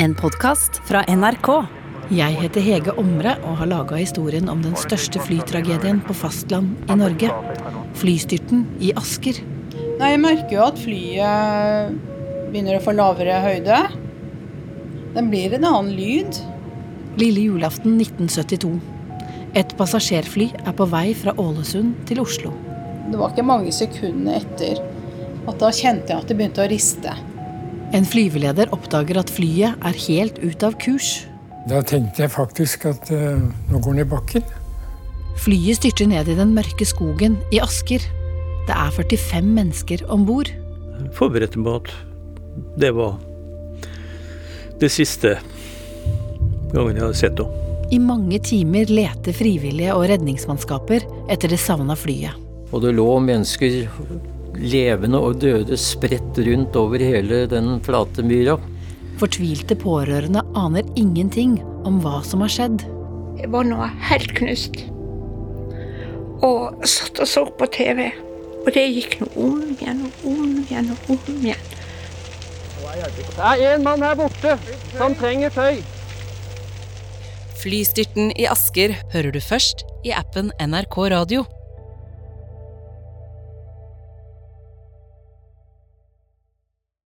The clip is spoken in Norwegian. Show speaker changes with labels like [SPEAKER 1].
[SPEAKER 1] En podkast fra NRK.
[SPEAKER 2] Jeg heter Hege Omre og har laga historien om den største flytragedien på fastland i Norge. Flystyrten i Asker.
[SPEAKER 3] Nei, Jeg merker jo at flyet begynner å få lavere høyde. Den blir en annen lyd.
[SPEAKER 2] Lille julaften 1972. Et passasjerfly er på vei fra Ålesund til Oslo.
[SPEAKER 3] Det var ikke mange sekundene etter at da kjente jeg at det begynte å riste.
[SPEAKER 2] En flyveleder oppdager at flyet er helt ut av kurs.
[SPEAKER 4] Da tenkte jeg faktisk at eh, nå går den i bakken.
[SPEAKER 2] Flyet styrter ned i den mørke skogen i Asker. Det er 45 mennesker om bord.
[SPEAKER 5] forberedte meg at det var det siste gangen jeg hadde sett henne.
[SPEAKER 2] I mange timer leter frivillige og redningsmannskaper etter det savna flyet.
[SPEAKER 6] Og det lå mennesker, levende og døde, spredt rundt over hele den flate myra.
[SPEAKER 2] Fortvilte pårørende aner ingenting om hva som har skjedd.
[SPEAKER 7] Jeg var nå helt knust. Og satt og så på TV. Og det gikk nå om igjen og om igjen og om igjen.
[SPEAKER 8] Det er en mann her borte som trenger tøy.
[SPEAKER 9] Flystyrten i Asker hører du først i appen NRK Radio.